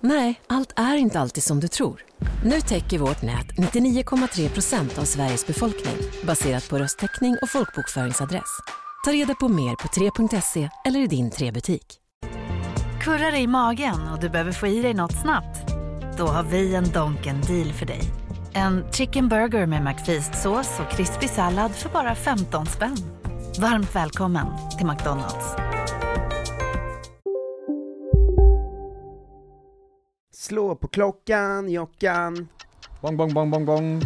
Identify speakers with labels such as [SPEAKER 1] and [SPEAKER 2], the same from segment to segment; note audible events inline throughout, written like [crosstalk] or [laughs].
[SPEAKER 1] Nej, allt är inte alltid som du tror. Nu täcker vårt nät 99,3 procent av Sveriges befolkning baserat på röstteckning och folkbokföringsadress. Ta reda på mer på 3.se eller i din 3-butik.
[SPEAKER 2] Kurrar i magen och du behöver få i dig något snabbt? Då har vi en Donken deal för dig. En chicken burger med McFeast-sås och krispig sallad för bara 15 spänn. Varmt välkommen till McDonalds.
[SPEAKER 3] Slå på klockan, Jockan.
[SPEAKER 4] Bong, bong, bong, bong, bong.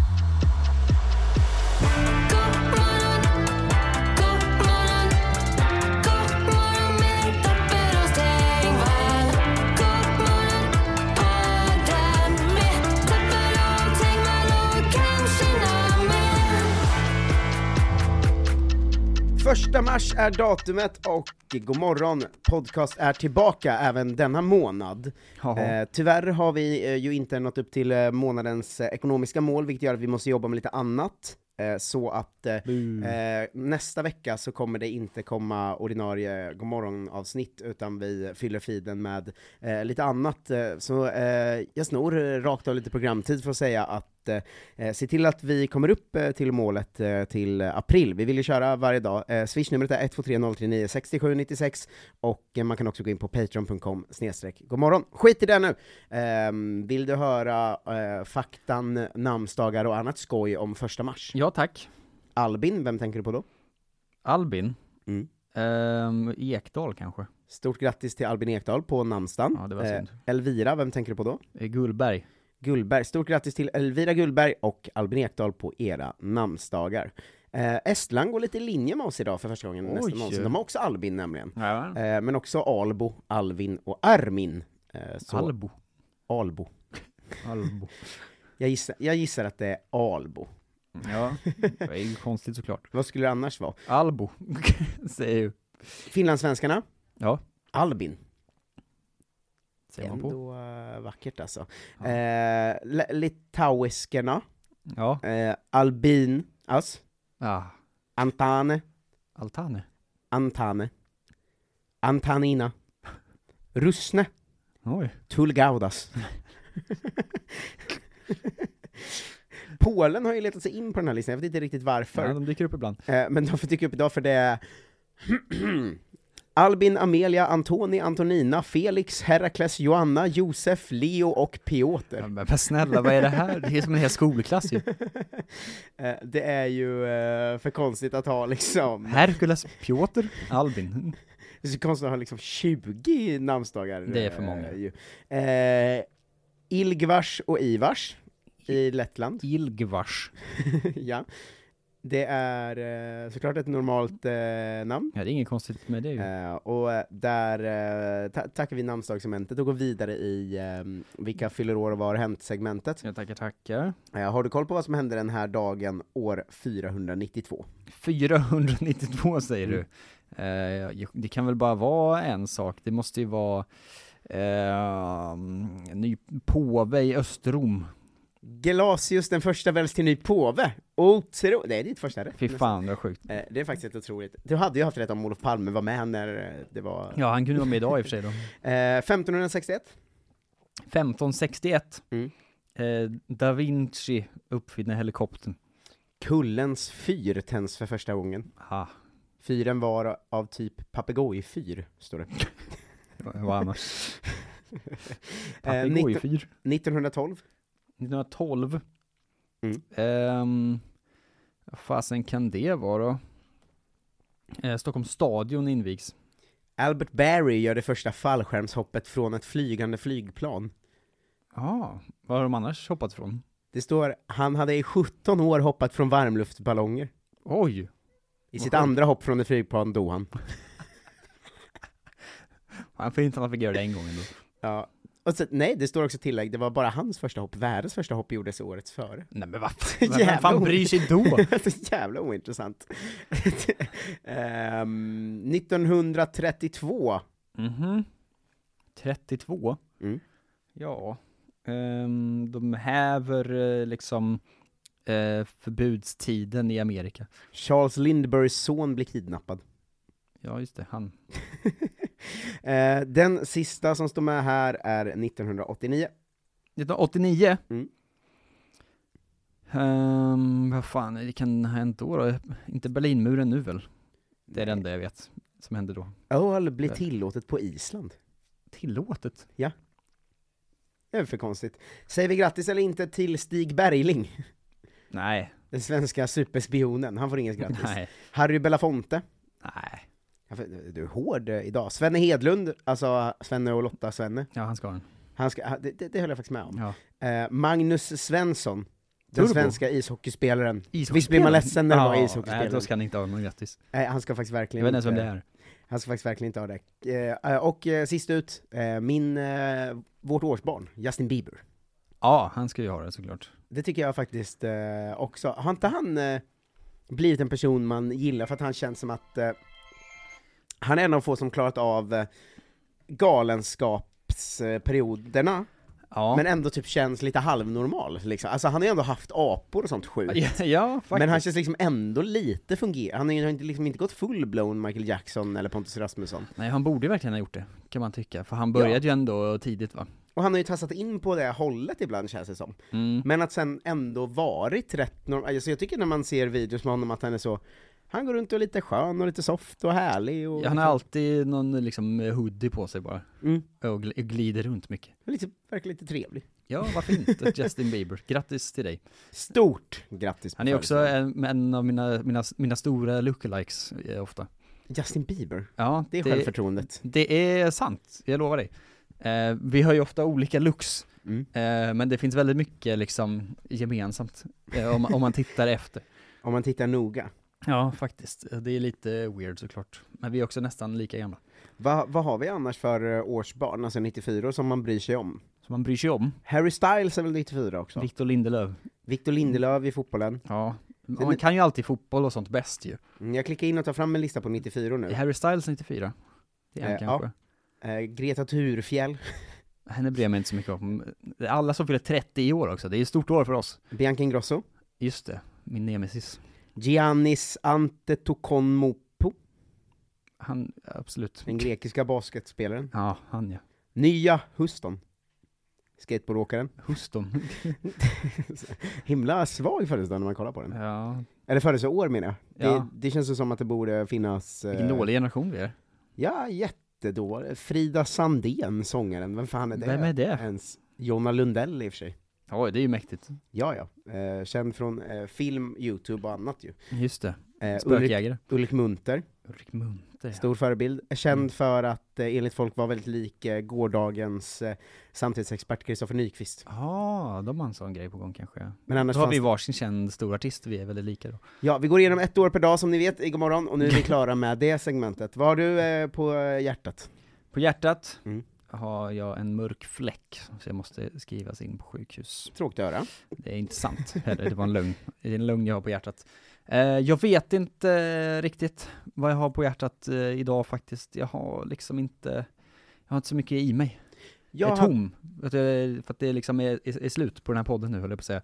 [SPEAKER 3] Första mars är datumet och god morgon podcast är tillbaka även denna månad.
[SPEAKER 4] Jaha.
[SPEAKER 3] Eh, tyvärr har vi eh, ju inte nått upp till eh, månadens eh, ekonomiska mål, vilket gör att vi måste jobba med lite annat. Eh, så att eh, eh, nästa vecka så kommer det inte komma ordinarie godmorgon-avsnitt, utan vi fyller feeden med eh, lite annat. Eh, så eh, jag snor eh, rakt av lite programtid för att säga att eh, Eh, se till att vi kommer upp eh, till målet eh, till eh, april. Vi vill ju köra varje dag. Eh, Swishnumret är 123039 6796 och eh, man kan också gå in på patreon.com snedstreck godmorgon. Skit i det nu! Ehm, vill du höra eh, faktan, namnsdagar och annat skoj om första mars?
[SPEAKER 4] Ja tack.
[SPEAKER 3] Albin, vem tänker du på då?
[SPEAKER 4] Albin.
[SPEAKER 3] Mm.
[SPEAKER 4] Ehm, Ekdal kanske.
[SPEAKER 3] Stort grattis till Albin Ekdal på namnsdagen.
[SPEAKER 4] Ja, det var
[SPEAKER 3] Eh,
[SPEAKER 4] synd.
[SPEAKER 3] Elvira, vem tänker du på då?
[SPEAKER 4] Eh, Gullberg.
[SPEAKER 3] Gullberg. Stort grattis till Elvira Gullberg och Albin Ekdal på era namnsdagar. Eh, Estland går lite i linje med oss idag för första gången
[SPEAKER 4] Oj.
[SPEAKER 3] nästan någonsin. De har också Albin nämligen.
[SPEAKER 4] Ja.
[SPEAKER 3] Eh, men också Albo, Alvin och Armin. Eh, så
[SPEAKER 4] Albo.
[SPEAKER 3] Albo.
[SPEAKER 4] Albo.
[SPEAKER 3] Jag gissar, jag gissar att det är Albo.
[SPEAKER 4] [laughs] Ja, det är ju konstigt såklart.
[SPEAKER 3] Vad skulle det annars vara?
[SPEAKER 4] Albo, [laughs] säger ju.
[SPEAKER 3] Finlandssvenskarna?
[SPEAKER 4] Ja,
[SPEAKER 3] Albin.
[SPEAKER 4] säger man på.
[SPEAKER 3] Ändå eh, vackert alltså. Eh, li- litauiskerna?
[SPEAKER 4] Ja,
[SPEAKER 3] Eh, Albin. As.
[SPEAKER 4] ah,
[SPEAKER 3] Antane.
[SPEAKER 4] Altane.
[SPEAKER 3] Antane, Antanina, Rusne,
[SPEAKER 4] Oj.
[SPEAKER 3] Tulgaudas. Polen har ju letat sig in på den här listan, jag vet inte riktigt varför.
[SPEAKER 4] Ja, de dyker upp ibland.
[SPEAKER 3] Eh, Men de får dyka upp idag för det är [clears throat] Albin, Amelia, Antoni, Antonina, Felix, Herakles, Joanna, Josef, Leo och Piotr.
[SPEAKER 4] Ja, men, men snälla, vad är det här? Det är som en hel
[SPEAKER 3] [laughs]
[SPEAKER 4] skolklass ju.
[SPEAKER 3] Eh, Det är ju eh, för konstigt att ha liksom,
[SPEAKER 4] Herkules, Piotr, Albin.
[SPEAKER 3] det är så konstigt att ha liksom 20 namnsdagar.
[SPEAKER 4] Det är för
[SPEAKER 3] eh,
[SPEAKER 4] många.
[SPEAKER 3] ju. Eh, Ilgvars och Ivars i Lettland.
[SPEAKER 4] Ilgvars.
[SPEAKER 3] [laughs] ja. Det är eh, såklart ett normalt eh, namn.
[SPEAKER 4] Ja, det är inget konstigt med det ju.
[SPEAKER 3] Eh, och eh, där eh, ta- tackar vi namnsdagssegmentet och går vidare i ehm, vilka fyller år och vad har hänt-segmentet.
[SPEAKER 4] Jag tackar, tackar.
[SPEAKER 3] Eh, har du koll på vad som hände den här dagen år 492?
[SPEAKER 4] 492 säger du. Eh, jag- det kan väl bara vara en sak, det måste ju vara eh, en ny påve i Östrom.
[SPEAKER 3] Gelasius den första väljs till ny påve! Otro... Det är ditt första rätt.
[SPEAKER 4] Fy fan vad sjukt.
[SPEAKER 3] Eh, det är faktiskt helt otroligt. Du hade ju haft rätt om Olof Palme var med när eh, det var...
[SPEAKER 4] Ja, han kunde vara med idag i och för sig då.
[SPEAKER 3] Eh, 1561?
[SPEAKER 4] 1561.
[SPEAKER 3] Mm.
[SPEAKER 4] Eh, da Vinci uppfinner helikoptern.
[SPEAKER 3] Kullens fyr tänds för första gången.
[SPEAKER 4] Ha,
[SPEAKER 3] Fyren var av typ papegojfyr, står det.
[SPEAKER 4] vad [laughs] annars?
[SPEAKER 3] Eh, 19-
[SPEAKER 4] Papegojfyr.
[SPEAKER 3] 1912,
[SPEAKER 4] 1912.
[SPEAKER 3] Mm.
[SPEAKER 4] Ehm, vad fasen kan det vara då? Eh, Stockholms stadion invigs.
[SPEAKER 3] Albert Barry gör det första fallskärmshoppet från ett flygande flygplan.
[SPEAKER 4] Ja, vad har de annars hoppat från?
[SPEAKER 3] Det står, han hade i 17 år hoppat från varmluftballonger.
[SPEAKER 4] Oj!
[SPEAKER 3] I
[SPEAKER 4] Vad
[SPEAKER 3] sitt
[SPEAKER 4] skönt.
[SPEAKER 3] andra hopp från ett flygplan dog han.
[SPEAKER 4] Han får inte att han fick göra det en gång ändå.
[SPEAKER 3] Ja. Och Och så, nej, det står också tillägg, det var bara hans första hopp, världens första hopp gjordes året före.
[SPEAKER 4] Nej men vad
[SPEAKER 3] Jävla
[SPEAKER 4] Vem fan bryr sig då?
[SPEAKER 3] [laughs] så jävla ointressant. [laughs] Ehm, 1932.
[SPEAKER 4] Mhm. 32?
[SPEAKER 3] Mm.
[SPEAKER 4] Ja. Ehm, de häver eh, liksom eh, förbudstiden i Amerika.
[SPEAKER 3] Charles Lindberghs son blir kidnappad.
[SPEAKER 4] Ja just det, han.
[SPEAKER 3] Eh, den sista som står med här är 1989.
[SPEAKER 4] 1989?
[SPEAKER 3] Mm.
[SPEAKER 4] Ehm, vad fan, det kan ha hänt då, då? Inte Berlinmuren nu väl? Det är det enda jag vet som hände då.
[SPEAKER 3] Öl blir tillåtet på Island.
[SPEAKER 4] Tillåtet?
[SPEAKER 3] Det är för konstigt. Säger vi grattis eller inte till Stig Bergling,
[SPEAKER 4] Nej.
[SPEAKER 3] den svenska superspionen? Han får inget grattis.
[SPEAKER 4] Nej.
[SPEAKER 3] Harry Belafonte.
[SPEAKER 4] Nej.
[SPEAKER 3] Ja, för- Du är hård eh, idag. Svenne Hedlund, alltså Svenne och Lotta Svenne.
[SPEAKER 4] Ja, han ska ha den.
[SPEAKER 3] Han ska, han- det, det, det höll jag faktiskt med om.
[SPEAKER 4] Ja.
[SPEAKER 3] Eh, Magnus Svensson,
[SPEAKER 4] Tror
[SPEAKER 3] den
[SPEAKER 4] du på?
[SPEAKER 3] svenska ishockeyspelaren.
[SPEAKER 4] Ishockeyspelaren?
[SPEAKER 3] Visst blir man ledsen när det var
[SPEAKER 4] Nej, då
[SPEAKER 3] ishockeyspelaren?
[SPEAKER 4] ska han inte ha någon grattis.
[SPEAKER 3] Nej, han ska faktiskt
[SPEAKER 4] Jag
[SPEAKER 3] verkligen
[SPEAKER 4] vet inte ens vem det
[SPEAKER 3] inte-
[SPEAKER 4] är.
[SPEAKER 3] Han ska faktiskt verkligen inte ha det. Eh, eh, och eh, sist ut, eh, min, eh, vårt årsbarn, Justin Bieber.
[SPEAKER 4] Ja, han ska ju ha det såklart.
[SPEAKER 3] Det tycker jag faktiskt eh, också. Har inte han eh, blivit en person man gillar för att han känns som att eh, han är en av få som klarat av eh, galenskapsperioderna, [laughs]
[SPEAKER 4] Ja.
[SPEAKER 3] men ändå typ känns lite halvnormal liksom. Alltså han har ju ändå haft apor och sånt sjukt.
[SPEAKER 4] ja, ja, faktiskt.
[SPEAKER 3] Men han känns liksom ändå lite fungerande, han har ju inte- liksom inte gått full-blown Michael Jackson eller Pontus Rasmusson.
[SPEAKER 4] Nej, han borde ju verkligen ha gjort det, kan man tycka. För han började ju ändå tidigt va?
[SPEAKER 3] Och han har ju tassat in på det hållet ibland känns det som.
[SPEAKER 4] Mm.
[SPEAKER 3] Men att sen ändå varit rätt normal. Alltså jag tycker när man ser videos med honom att han är så, han går runt och är lite skön och lite soft och härlig och
[SPEAKER 4] Ja, han har alltid någon liksom hoodie på sig bara.
[SPEAKER 3] Mm.
[SPEAKER 4] Och gl- glider runt mycket.
[SPEAKER 3] lite, verkar lite trevlig.
[SPEAKER 4] Ja, varför inte?
[SPEAKER 3] [laughs]
[SPEAKER 4] Justin Bieber, grattis till dig.
[SPEAKER 3] Stort grattis! på
[SPEAKER 4] Han är också
[SPEAKER 3] födelsedagen.
[SPEAKER 4] en, en av mina, mina, mina stora lookalikes eh, ofta.
[SPEAKER 3] Justin Bieber,
[SPEAKER 4] Ja,
[SPEAKER 3] det är självförtroendet.
[SPEAKER 4] det är sant, jag lovar dig. Eh, vi har ju ofta olika looks,
[SPEAKER 3] Mm.
[SPEAKER 4] eh, men det finns väldigt mycket liksom gemensamt, eh, om, om man tittar efter.
[SPEAKER 3] Om man tittar noga.
[SPEAKER 4] [laughs] Ja, faktiskt. Det är lite weird såklart. Men vi är också nästan lika gamla.
[SPEAKER 3] Va, vad har vi annars för eh, årsbarn, alltså 94 som man bryr sig om?
[SPEAKER 4] Så man bryr sig om.
[SPEAKER 3] Harry Styles är väl 94 också?
[SPEAKER 4] Victor Lindelöf.
[SPEAKER 3] Victor Lindelöf
[SPEAKER 4] Mm.
[SPEAKER 3] i fotbollen.
[SPEAKER 4] Ja.
[SPEAKER 3] Det är
[SPEAKER 4] Man
[SPEAKER 3] li-
[SPEAKER 4] kan ju alltid fotboll och sånt bäst ju.
[SPEAKER 3] Mm, Jag klickar in och tar fram en lista på 94 nu.
[SPEAKER 4] Är Harry Styles 94? Det är han
[SPEAKER 3] Eh,
[SPEAKER 4] kanske.
[SPEAKER 3] Eh, Greta Thurfjell,
[SPEAKER 4] Henne bryr jag mig inte så mycket om. Alla som fyller 30 i år också, det är ju ett stort år för oss.
[SPEAKER 3] Bianca Ingrosso,
[SPEAKER 4] Just det, min nemesis.
[SPEAKER 3] Giannis Antetokounmpo,
[SPEAKER 4] Han, absolut.
[SPEAKER 3] den grekiska basketspelaren.
[SPEAKER 4] Ja, han ja.
[SPEAKER 3] Nya Huston, skateboardåkaren.
[SPEAKER 4] Huston.
[SPEAKER 3] Himla svag födelsedag när man kollar på den.
[SPEAKER 4] [laughs] Ja,
[SPEAKER 3] Eller födelseår menar jag. Det,
[SPEAKER 4] Ja.
[SPEAKER 3] det känns ju som att det borde finnas... eh,
[SPEAKER 4] vilken dålig generation vi är.
[SPEAKER 3] Ja, jättedålig. Frida Sandén, sångaren, vem fan är det?
[SPEAKER 4] Vem är det?
[SPEAKER 3] Ens Jonna Lundell i och för sig.
[SPEAKER 4] Oj, det är ju mäktigt.
[SPEAKER 3] Ja, ja. Eh, känd från eh, film, YouTube och annat ju.
[SPEAKER 4] Just det.
[SPEAKER 3] Eh, Ulrik,
[SPEAKER 4] Spökjägare.
[SPEAKER 3] Ulrik Munter.
[SPEAKER 4] Ulrik Munther. ja.
[SPEAKER 3] Stor förebild. Känd
[SPEAKER 4] Mm.
[SPEAKER 3] för att eh, enligt folk var väldigt lik eh, gårdagens eh, samtidsexpert Kristoffer Nyqvist.
[SPEAKER 4] Ja, de har en sån grej på gång kanske.
[SPEAKER 3] Men annars
[SPEAKER 4] Då har
[SPEAKER 3] fanns...
[SPEAKER 4] vi varsin känd stor artist, vi är väldigt lika då.
[SPEAKER 3] Ja, vi går igenom ett år per dag som ni vet i morgon och nu är
[SPEAKER 4] [laughs]
[SPEAKER 3] vi klara med det segmentet. Vad har du eh, på eh, hjärtat?
[SPEAKER 4] På hjärtat
[SPEAKER 3] Mm.
[SPEAKER 4] har jag en mörk fläck, så jag måste skrivas in på sjukhus.
[SPEAKER 3] Tråkigt att höra.
[SPEAKER 4] Det är inte sant heller, det var en lögn. Det är en lögn jag har på hjärtat. Eh, jag vet inte eh, riktigt vad jag har på hjärtat eh, idag faktiskt. Jag har liksom inte, jag har inte så mycket i mig. Jag
[SPEAKER 3] Jag
[SPEAKER 4] är
[SPEAKER 3] har
[SPEAKER 4] tom. För att, jag, för att det liksom är, är, är slut på den här podden nu höll jag på att säga.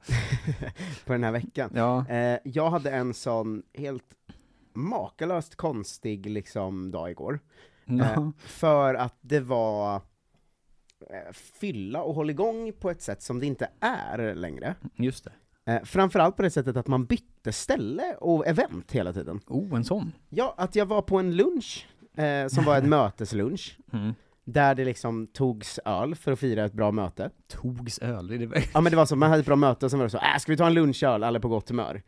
[SPEAKER 3] på den här veckan.
[SPEAKER 4] Ja,
[SPEAKER 3] Eh, jag hade en sån helt makalöst konstig liksom, dag igår.
[SPEAKER 4] ja.
[SPEAKER 3] För att det var eh, fylla och hålligång på ett sätt som det inte är längre.
[SPEAKER 4] just det.
[SPEAKER 3] Eh, framförallt på det sättet att man bytte ställe och event hela tiden.
[SPEAKER 4] Oh, en sån.
[SPEAKER 3] Ja, att jag var på en lunch, eh, som var en möteslunch,
[SPEAKER 4] Mm.
[SPEAKER 3] där det liksom togs öl för att fira ett bra möte.
[SPEAKER 4] Togs öl, är det väl?
[SPEAKER 3] Ja men det var så, man hade ett bra möte och sen var det så, äh, ska vi ta en lunchöl, alla är på gott humör.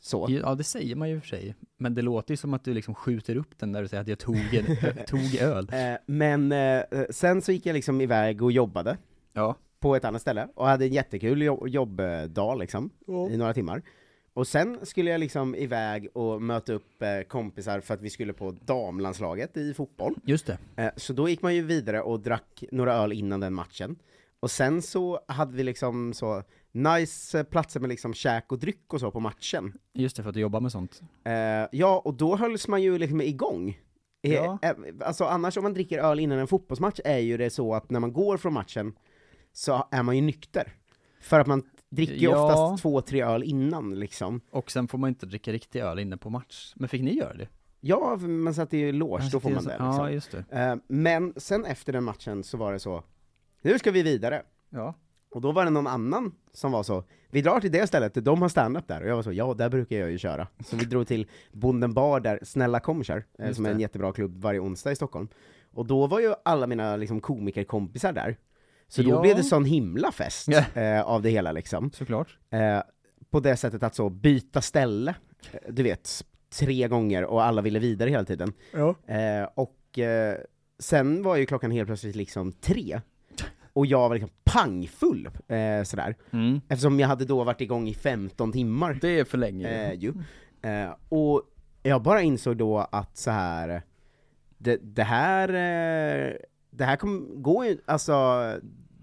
[SPEAKER 3] Så.
[SPEAKER 4] Ja, det säger man ju för sig. Men det låter ju som att du liksom skjuter upp den när du säger att jag tog, en,
[SPEAKER 3] [laughs]
[SPEAKER 4] tog öl.
[SPEAKER 3] Eh, men eh, sen så gick jag liksom iväg och jobbade
[SPEAKER 4] Ja.
[SPEAKER 3] på ett annat ställe, och hade en jättekul jo- jobbdag liksom, i några timmar. Och sen skulle jag liksom iväg och möta upp eh, kompisar för att vi skulle på damlandslaget i fotboll.
[SPEAKER 4] Just det.
[SPEAKER 3] Eh, Så då gick man ju vidare och drack några öl innan den matchen. Och sen så hade vi liksom så, nice eh, platser med liksom käk och dryck och så på matchen.
[SPEAKER 4] Just det, för att du jobbar med sånt.
[SPEAKER 3] Eh, ja, och då hölls man ju liksom igång. Eh,
[SPEAKER 4] Ja.
[SPEAKER 3] eh, alltså annars om man dricker öl innan en fotbollsmatch är ju det så att när man går från matchen så är man ju nykter. För att man dricker ju
[SPEAKER 4] Ja.
[SPEAKER 3] oftast två, tre öl innan liksom.
[SPEAKER 4] Och sen får man inte dricka riktig öl inne på match. Men fick ni göra det?
[SPEAKER 3] Ja, man satt i loge, då får man det
[SPEAKER 4] Ja,
[SPEAKER 3] liksom.
[SPEAKER 4] just Alltså, det.
[SPEAKER 3] Eh, Men sen efter den matchen så var det så, nu ska vi vidare.
[SPEAKER 4] Ja.
[SPEAKER 3] Och då var det någon annan som var så, vi drar till det stället, de har stand-up där. Och jag var så, ja där brukar jag ju köra. Så vi drog till Bonden Bar där Snälla kom kör, eh,
[SPEAKER 4] Just
[SPEAKER 3] som är en
[SPEAKER 4] det.
[SPEAKER 3] jättebra klubb varje onsdag i Stockholm. Och då var ju alla mina liksom, komikerkompisar där. Så då
[SPEAKER 4] Ja.
[SPEAKER 3] blev det sån himla fest
[SPEAKER 4] Ja.
[SPEAKER 3] eh, av det hela liksom.
[SPEAKER 4] Såklart.
[SPEAKER 3] Eh, på det sättet att så byta ställe, eh, du vet, tre gånger och alla ville vidare hela tiden.
[SPEAKER 4] Ja.
[SPEAKER 3] Eh, och eh, sen var ju klockan helt plötsligt liksom tre, och jag var liksom pangfull eh, sådär,
[SPEAKER 4] Mm.
[SPEAKER 3] eftersom jag hade då varit igång i 15 timmar.
[SPEAKER 4] Det är för länge.
[SPEAKER 3] Eh, ju. Eh, och jag bara insåg då att så här det, det här, eh, det här kom, går ju alltså,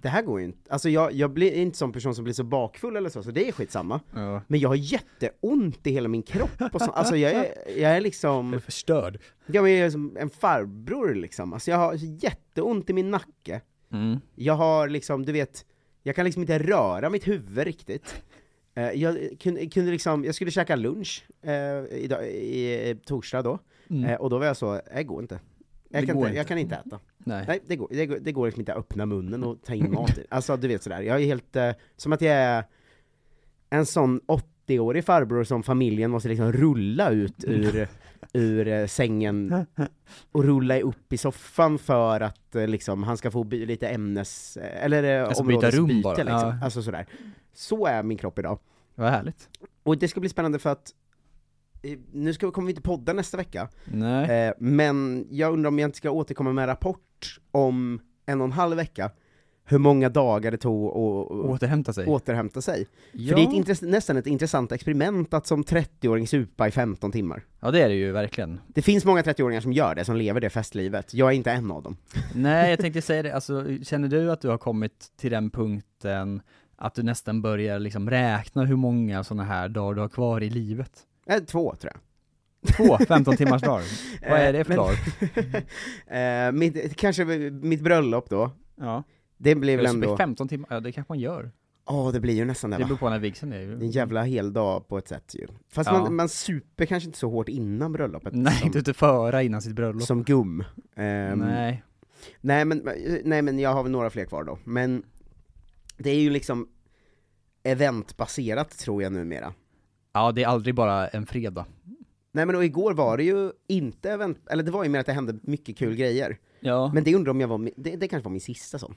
[SPEAKER 3] det här går ju inte. Alltså jag, jag blir inte sån person som blir så bakfull eller så, så det är skitsamma.
[SPEAKER 4] ja.
[SPEAKER 3] Men jag har jätteont i hela min kropp och så. Alltså jag är, jag är liksom...
[SPEAKER 4] förstörd.
[SPEAKER 3] Ja men jag är som en farbror liksom, alltså jag har jätteont i min nacke,
[SPEAKER 4] Mm.
[SPEAKER 3] jag har liksom, du vet, jag kan liksom inte röra mitt huvud riktigt. Eh, Jag kunde, kunde liksom, jag skulle käka lunch eh, idag, i, i torsdag då,
[SPEAKER 4] Mm.
[SPEAKER 3] eh, och då var jag så, det går inte.
[SPEAKER 4] Det
[SPEAKER 3] Jag kan,
[SPEAKER 4] går
[SPEAKER 3] inte, jag
[SPEAKER 4] inte.
[SPEAKER 3] kan inte äta.
[SPEAKER 4] Nej.
[SPEAKER 3] Nej, det går, det, går, det går liksom inte att öppna munnen och ta
[SPEAKER 4] [laughs]
[SPEAKER 3] in mat i. Alltså du vet sådär, jag är helt, eh, som att jag är en sån 80-årig farbror som familjen måste liksom rulla
[SPEAKER 4] [laughs]
[SPEAKER 3] ut ur, [laughs] ur eh, sängen och rulla upp i soffan för att eh, liksom, han ska få by- lite ämnes, eller eh,
[SPEAKER 4] Alltså, byta
[SPEAKER 3] områdesbyte
[SPEAKER 4] rum bara.
[SPEAKER 3] liksom.
[SPEAKER 4] Ja.
[SPEAKER 3] Alltså sådär. Så är min kropp idag.
[SPEAKER 4] Vad härligt.
[SPEAKER 3] Och det ska bli spännande för att eh, nu ska, kommer vi inte podda nästa vecka,
[SPEAKER 4] Nej.
[SPEAKER 3] Eh, men jag undrar om jag inte ska återkomma med en rapport om en och en halv vecka, hur många dagar det tog att att
[SPEAKER 4] Återhämta sig.
[SPEAKER 3] återhämta sig.
[SPEAKER 4] ja.
[SPEAKER 3] För det är ett intress- nästan ett intressant experiment att som 30-åring supa i 15 timmar.
[SPEAKER 4] ja, det är det ju verkligen.
[SPEAKER 3] Det finns många 30-åringar som gör det, som lever det festlivet. Jag är inte en av dem.
[SPEAKER 4] Nej, jag tänkte säga det, alltså, känner du att du har kommit till den punkten att du nästan börjar liksom räkna hur många sådana här dagar du har kvar i livet?
[SPEAKER 3] Eh, två, tror
[SPEAKER 4] [laughs]
[SPEAKER 3] jag.
[SPEAKER 4] Två 15
[SPEAKER 3] [laughs]
[SPEAKER 4] timmars dagar. Vad är det för
[SPEAKER 3] Eh, men- [laughs]
[SPEAKER 4] dag?
[SPEAKER 3] eh, mitt, kanske mitt bröllop då,
[SPEAKER 4] Ja.
[SPEAKER 3] det blir väl
[SPEAKER 4] Eller så blir
[SPEAKER 3] ändå...
[SPEAKER 4] det 15 timmar, ja det kanske man gör.
[SPEAKER 3] Ja, det blir ju nästan det
[SPEAKER 4] Det beror
[SPEAKER 3] va?
[SPEAKER 4] på när vigseln är
[SPEAKER 3] Det är
[SPEAKER 4] ju.
[SPEAKER 3] en jävla hel dag på ett sätt ju. Fast
[SPEAKER 4] Ja.
[SPEAKER 3] man, man super kanske inte så hårt innan bröllopet.
[SPEAKER 4] Nej,
[SPEAKER 3] som,
[SPEAKER 4] inte ute föra innan sitt bröllop.
[SPEAKER 3] som gum. Ehm,
[SPEAKER 4] Nej.
[SPEAKER 3] Nej men, nej men jag har väl några fler kvar då, men det är ju liksom eventbaserat tror jag numera.
[SPEAKER 4] Ja, det är aldrig bara en fredag.
[SPEAKER 3] Nej men och igår var det ju inte event, eller det var ju mer att det hände mycket kul grejer.
[SPEAKER 4] Ja,
[SPEAKER 3] [laughs] Men det undrar om jag var, mi- det, det kanske var min sista sån.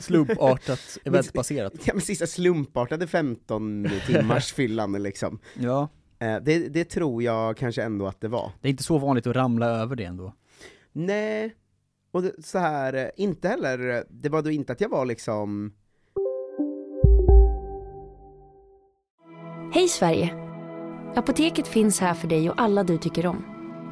[SPEAKER 4] slumpartat, eventbaserat.
[SPEAKER 3] [laughs] Ja men sista slumpartade 15 timmars fyllan liksom.
[SPEAKER 4] Ja,
[SPEAKER 3] Eh, det, det tror jag kanske ändå att det var.
[SPEAKER 4] det är inte så vanligt att ramla över det ändå.
[SPEAKER 3] Nej, och det, så här, eh, inte heller, eh, det var då inte att jag var liksom
[SPEAKER 5] Hej Sverige! Apoteket finns här för dig och alla du tycker om.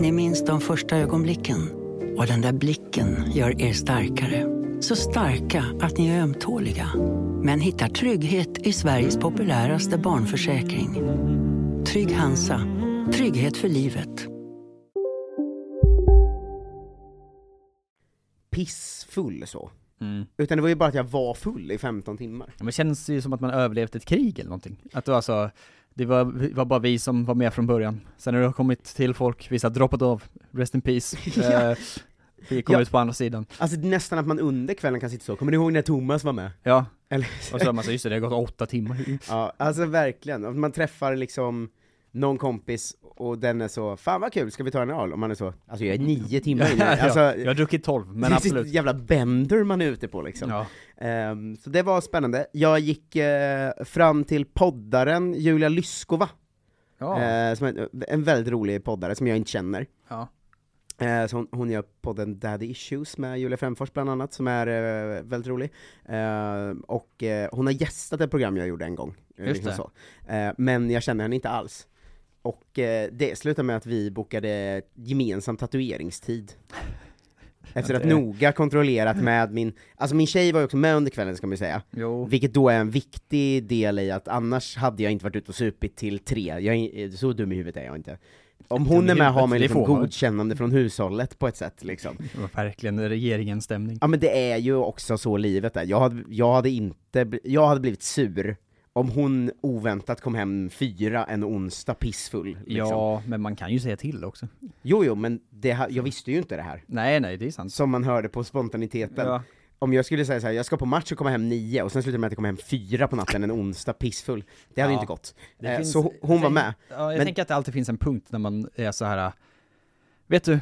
[SPEAKER 6] Ni minns de första ögonblicken. Och den där blicken gör er starkare. Så starka att ni är ömtåliga. Men hittar trygghet i Sveriges populäraste barnförsäkring. Trygg Hansa. Trygghet för livet.
[SPEAKER 3] pissfull så.
[SPEAKER 4] Mm.
[SPEAKER 3] Utan det var ju bara att jag var full i 15 timmar.
[SPEAKER 4] Ja, men känns det ju som att man överlevt ett krig eller någonting. Att det var så, det var, var bara vi som var med från början. Sen har det kommit till folk, vissa har droppat av, rest
[SPEAKER 3] [laughs]
[SPEAKER 4] in peace.
[SPEAKER 3] Ja.
[SPEAKER 4] eh, vi kom
[SPEAKER 3] Ja.
[SPEAKER 4] ut på andra sidan.
[SPEAKER 3] Alltså det är nästan att man under kvällen kan sitta så, kommer ni ihåg när Thomas var med?
[SPEAKER 4] Ja,
[SPEAKER 3] Eller,
[SPEAKER 4] [laughs] och så har man så, just det, det har gått åtta timmar.
[SPEAKER 3] ja, alltså verkligen, Att man träffar liksom någon kompis och den är så, fan vad kul, ska vi ta en öl? Och man är så, alltså jag är nio timmar
[SPEAKER 4] [laughs]
[SPEAKER 3] inne, alltså,
[SPEAKER 4] jag har druckit 12, men
[SPEAKER 3] det är sitt
[SPEAKER 4] absolut.
[SPEAKER 3] jävla bender man är ute på liksom.
[SPEAKER 4] Ja.
[SPEAKER 3] Ehm, så det var spännande. Jag gick eh, fram till poddaren Julia Lyskova,
[SPEAKER 4] Ja.
[SPEAKER 3] eh, som är en väldigt rolig poddare som jag inte känner.
[SPEAKER 4] Ja.
[SPEAKER 3] Eh, så hon, hon gör podden Daddy Issues med Julia Frändfors bland annat, som är eh, väldigt rolig. Eh, och eh, hon har gästat ett program jag gjorde en gång. eh,
[SPEAKER 4] Just det.
[SPEAKER 3] Så. Eh, men jag känner henne inte alls. Och eh, det slutade med att vi bokade gemensam tatueringstid. Efter att
[SPEAKER 4] det-
[SPEAKER 3] noga kontrollerat med min, alltså min tjej var ju också med under kvällen ska man ju säga.
[SPEAKER 4] Jo.
[SPEAKER 3] Vilket då är en viktig del i att annars hade jag inte varit ute och supit till tre, jag är, eh, så dum i huvudet är jag inte. Om
[SPEAKER 4] Dum
[SPEAKER 3] hon
[SPEAKER 4] i
[SPEAKER 3] är med har
[SPEAKER 4] huvudet,
[SPEAKER 3] man ju
[SPEAKER 4] det
[SPEAKER 3] liksom
[SPEAKER 4] får man.
[SPEAKER 3] godkännande från hushållet på ett sätt liksom.
[SPEAKER 4] Det var verkligen regeringens stämning.
[SPEAKER 3] Ja men det är ju också så livet är. Jag hade, jag hade inte, bl- jag hade blivit sur om hon oväntat kom hem fyra en onsdag pissfull. Liksom.
[SPEAKER 4] Ja, men man kan ju säga till också.
[SPEAKER 3] Jo jo men det, ha- jag visste ju inte det här.
[SPEAKER 4] Nej, nej, det är sant.
[SPEAKER 3] Som man hörde på spontaniteten.
[SPEAKER 4] Ja.
[SPEAKER 3] Om jag skulle säga så här, jag ska på match och komma hem nio, och sen slutar det med att jag kommer hem fyra på natten en onsdag pissfull. Det hade
[SPEAKER 4] Ja.
[SPEAKER 3] inte gått.
[SPEAKER 4] Det
[SPEAKER 3] Eh,
[SPEAKER 4] finns-
[SPEAKER 3] så hon- hon var
[SPEAKER 4] tänk-
[SPEAKER 3] med.
[SPEAKER 4] Ja, jag
[SPEAKER 3] Men-
[SPEAKER 4] tänker att det alltid finns en punkt när man är så här. äh, Vet du,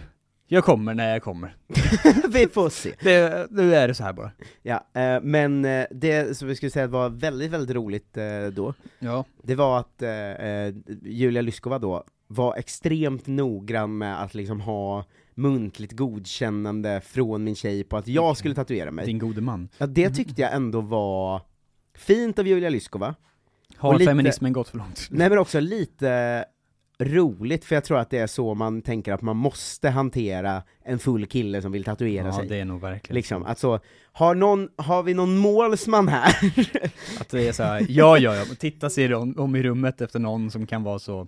[SPEAKER 4] jag kommer när jag kommer.
[SPEAKER 3] [laughs] Vi får se.
[SPEAKER 4] Det, nu är det så här bara.
[SPEAKER 3] Ja, eh, men eh, det som vi skulle säga var väldigt, väldigt roligt eh, då,
[SPEAKER 4] Ja.
[SPEAKER 3] det var att eh, eh, Julia Lyskova då var extremt noggrann med att liksom ha muntligt godkännande från min tjej på att jag
[SPEAKER 4] Okej.
[SPEAKER 3] skulle tatuera mig.
[SPEAKER 4] Din gode man.
[SPEAKER 3] Ja, det tyckte jag ändå var fint av Julia Lyskova,
[SPEAKER 4] Har
[SPEAKER 3] Och lite-
[SPEAKER 4] feminismen gått för långt?
[SPEAKER 3] nej men också lite roligt, för jag tror att det är så man tänker att man måste hantera en full kille som vill tatuera
[SPEAKER 4] Ja,
[SPEAKER 3] sig.
[SPEAKER 4] det är nog verkligen.
[SPEAKER 3] Liksom, att så, har, någon, har vi någon målsman här? [laughs]
[SPEAKER 4] Att det är så här, ja, ja, ja, men titta sig om, om i rummet efter någon som kan vara så,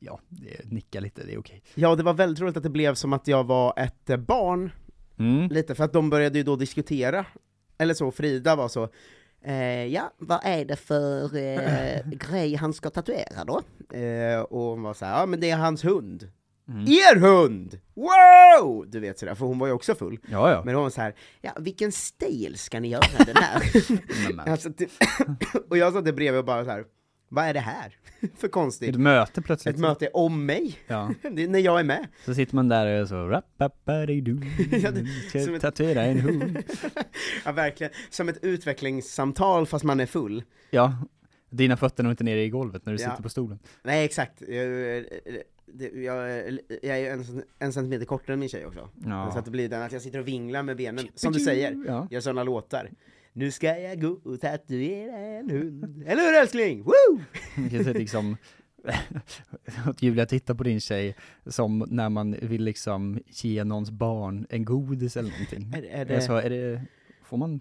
[SPEAKER 4] ja, det- nicka lite, det är okej.
[SPEAKER 3] Ja, det var väldigt roligt att det blev som att jag var ett eh, barn,
[SPEAKER 4] Mm.
[SPEAKER 3] lite, för att de började ju då diskutera, eller så, Frida var så Eh, ja, vad är det för
[SPEAKER 4] [laughs]
[SPEAKER 3] eh, grej han ska tatuera då? Eh, och hon var så här, ja men det är hans hund.
[SPEAKER 4] Mm.
[SPEAKER 3] Er hund! Wow! Du vet sådär, för hon var ju också full.
[SPEAKER 4] Ja, ja.
[SPEAKER 3] Men hon var så här, ja vilken stil ska ni göra den
[SPEAKER 4] [laughs]
[SPEAKER 3] här?
[SPEAKER 4] Men, men.
[SPEAKER 3] alltså, det, [clears throat] och jag satt där bredvid och bara så här, vad är det här [laughs] för konstigt?
[SPEAKER 4] Ett möte plötsligt.
[SPEAKER 3] Ett möte om mig,
[SPEAKER 4] Ja,
[SPEAKER 3] [laughs] det är när jag är med.
[SPEAKER 4] så sitter man där och är så, rappaparidu,
[SPEAKER 3] som ett-
[SPEAKER 4] tatuera en hund.
[SPEAKER 3] Ja verkligen, som ett utvecklingssamtal fast man är full.
[SPEAKER 4] Ja, dina fötter når inte ner i golvet när du
[SPEAKER 3] Ja.
[SPEAKER 4] sitter på stolen.
[SPEAKER 3] Nej exakt, jag, eh, det- jag, eh, jag är ju en, cent- en centimeter kortare än min tjej också.
[SPEAKER 4] Ja.
[SPEAKER 3] Så att det blir den att jag sitter och vinglar med benen, som du säger,
[SPEAKER 4] Ja.
[SPEAKER 3] gör sådana låtar. Nu ska jag gå och tatuera en hund. Eller hur älskling? Woo!
[SPEAKER 4] Man kan säga liksom, [laughs] att Julia tittar på din tjej som när man vill liksom ge någons barn en godis eller någonting.
[SPEAKER 3] Är, är
[SPEAKER 4] Är det...
[SPEAKER 3] det,
[SPEAKER 4] Så, är det, får man,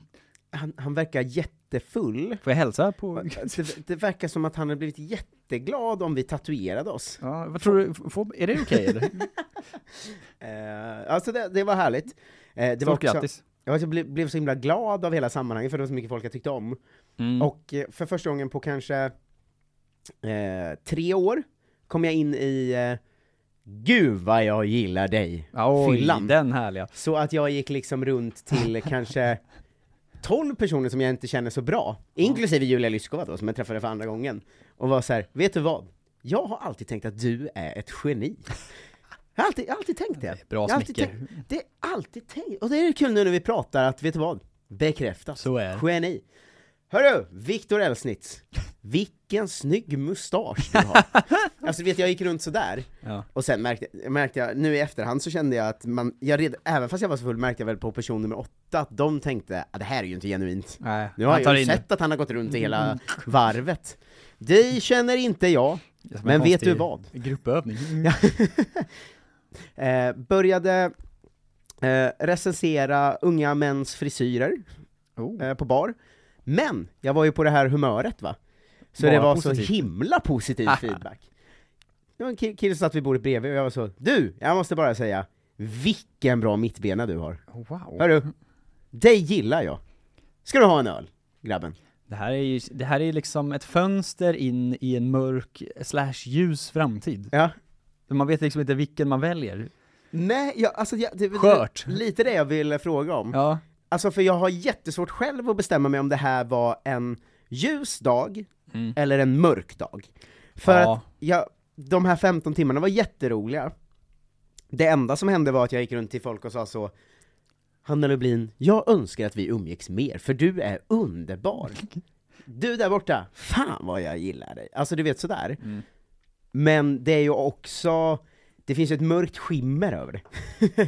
[SPEAKER 3] han, han verkar jättefull.
[SPEAKER 4] får jag hälsa på?
[SPEAKER 3] Det, det verkar som att han har blivit jätteglad om vi tatuerade oss.
[SPEAKER 4] Ja, vad tror du, får, är det okej
[SPEAKER 3] [laughs]
[SPEAKER 4] eller?
[SPEAKER 3] Eh, alltså det, det var härligt. Eh, det var
[SPEAKER 4] Stort
[SPEAKER 3] också,
[SPEAKER 4] grattis.
[SPEAKER 3] jag var- blev, blev så himla glad av hela sammanhanget för det var så mycket folk jag tyckte om.
[SPEAKER 4] Mm.
[SPEAKER 3] Och eh, för första gången på kanske eh, tre år kom jag in i eh, Gud vad jag gillar dig!
[SPEAKER 4] Oj,
[SPEAKER 3] fyllan.
[SPEAKER 4] den härliga.
[SPEAKER 3] Så att jag gick liksom runt
[SPEAKER 4] [laughs]
[SPEAKER 3] till kanske 12 personer som jag inte känner så bra, inklusive Julia Lyskova då, som jag träffade för andra gången, och var så här: vet du vad? Jag har alltid tänkt att du är ett geni. Jag har alltid, jag har alltid tänkt det.
[SPEAKER 4] Bra
[SPEAKER 3] Jag har alltid
[SPEAKER 4] smicker.
[SPEAKER 3] Det är alltid tänkt, och det är kul nu när vi pratar att, vet du vad? Bekräftas.
[SPEAKER 4] Så är det.
[SPEAKER 3] Geni. Hörru, Viktor Elsnitz. Vilken snygg mustasch du
[SPEAKER 4] [laughs]
[SPEAKER 3] har. alltså du vet, jag gick runt sådär.
[SPEAKER 4] Ja.
[SPEAKER 3] Och sen märkte, märkte jag, nu i efterhand så kände jag att man, jag red, även fast jag var så full märkte jag väl på person nummer åtta att de tänkte att det här är ju inte genuint.
[SPEAKER 4] Nej,
[SPEAKER 3] Nu har
[SPEAKER 4] han tar
[SPEAKER 3] jag ju
[SPEAKER 4] in Mm.
[SPEAKER 3] sett att han har gått runt i hela varvet. Dig känner inte jag.
[SPEAKER 4] det som en
[SPEAKER 3] Men vet
[SPEAKER 4] konstig
[SPEAKER 3] du vad?
[SPEAKER 4] Gruppövning.
[SPEAKER 3] Eh, började eh, recensera unga mäns frisyrer
[SPEAKER 4] Oh.
[SPEAKER 3] eh, på bar. Men, jag var ju på det här humöret va. Så
[SPEAKER 4] Bara
[SPEAKER 3] det var
[SPEAKER 4] positivt.
[SPEAKER 3] så himla [laughs] positiv feedback. Det var en ki- kille som satt vid bordet bredvid och jag var så, du, jag måste bara säga, vilken bra mittbena du har.
[SPEAKER 4] Wow.
[SPEAKER 3] Hörru, dig gillar jag. Ska du ha en öl, grabben?
[SPEAKER 4] Det här är ju, det här är liksom ett fönster in i en mörk slash ljus framtid.
[SPEAKER 3] Ja.
[SPEAKER 4] Man vet liksom inte vilken man väljer.
[SPEAKER 3] Nej, jag, alltså jag, det, det-
[SPEAKER 4] Skört.
[SPEAKER 3] lite det jag ville fråga om.
[SPEAKER 4] Ja.
[SPEAKER 3] Alltså för jag har jättesvårt själv att bestämma mig om det här var en ljus dag
[SPEAKER 4] Mm.
[SPEAKER 3] eller en mörk dag. För
[SPEAKER 4] Ja.
[SPEAKER 3] att jag, de här 15 timmarna var jätteroliga. Det enda som hände var att jag gick runt till folk och sa så Hanna Lublin, jag önskar att vi umgicks mer, för du är
[SPEAKER 4] [laughs]
[SPEAKER 3] underbar. Du där borta, fan vad jag gillar dig. Alltså du vet sådär.
[SPEAKER 4] Mm.
[SPEAKER 3] Men det är ju också, det finns ju ett mörkt skimmer över det.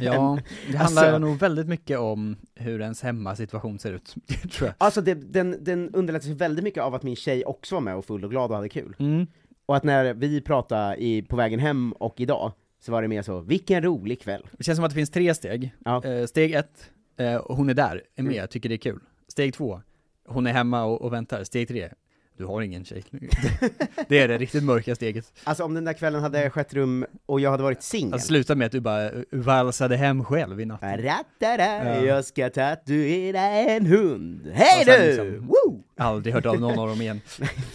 [SPEAKER 3] [laughs]
[SPEAKER 4] Ja, det handlar
[SPEAKER 3] Alltså-
[SPEAKER 4] nog väldigt mycket om hur ens hemmasituation ser ut, [laughs] tror jag.
[SPEAKER 3] Alltså det, den, den underlättas ju väldigt mycket av att min tjej också var med och full och glad och hade kul.
[SPEAKER 4] Mm.
[SPEAKER 3] Och att när vi pratade i, på vägen hem och idag, så var det mer så, vilken rolig kväll.
[SPEAKER 4] Det känns som att det finns tre steg.
[SPEAKER 3] Ja.
[SPEAKER 4] Eh, Steg ett, eh, hon är där, är med, tycker det är kul. Steg två, hon är hemma och, och väntar. Steg tre, du har ingen tjej. [laughs] Det är det riktigt mörka steget.
[SPEAKER 3] Alltså om den där kvällen hade skett rum och jag hade varit singel.
[SPEAKER 4] Att sluta med att du bara eh, valsade hem själv i natt.
[SPEAKER 3] Rattada,
[SPEAKER 4] Ja.
[SPEAKER 3] Jag ska tatuera en hund. Hej
[SPEAKER 4] Och sen
[SPEAKER 3] du!
[SPEAKER 4] liksom-
[SPEAKER 3] Woo!
[SPEAKER 4] Aldrig hört av någon av dem igen.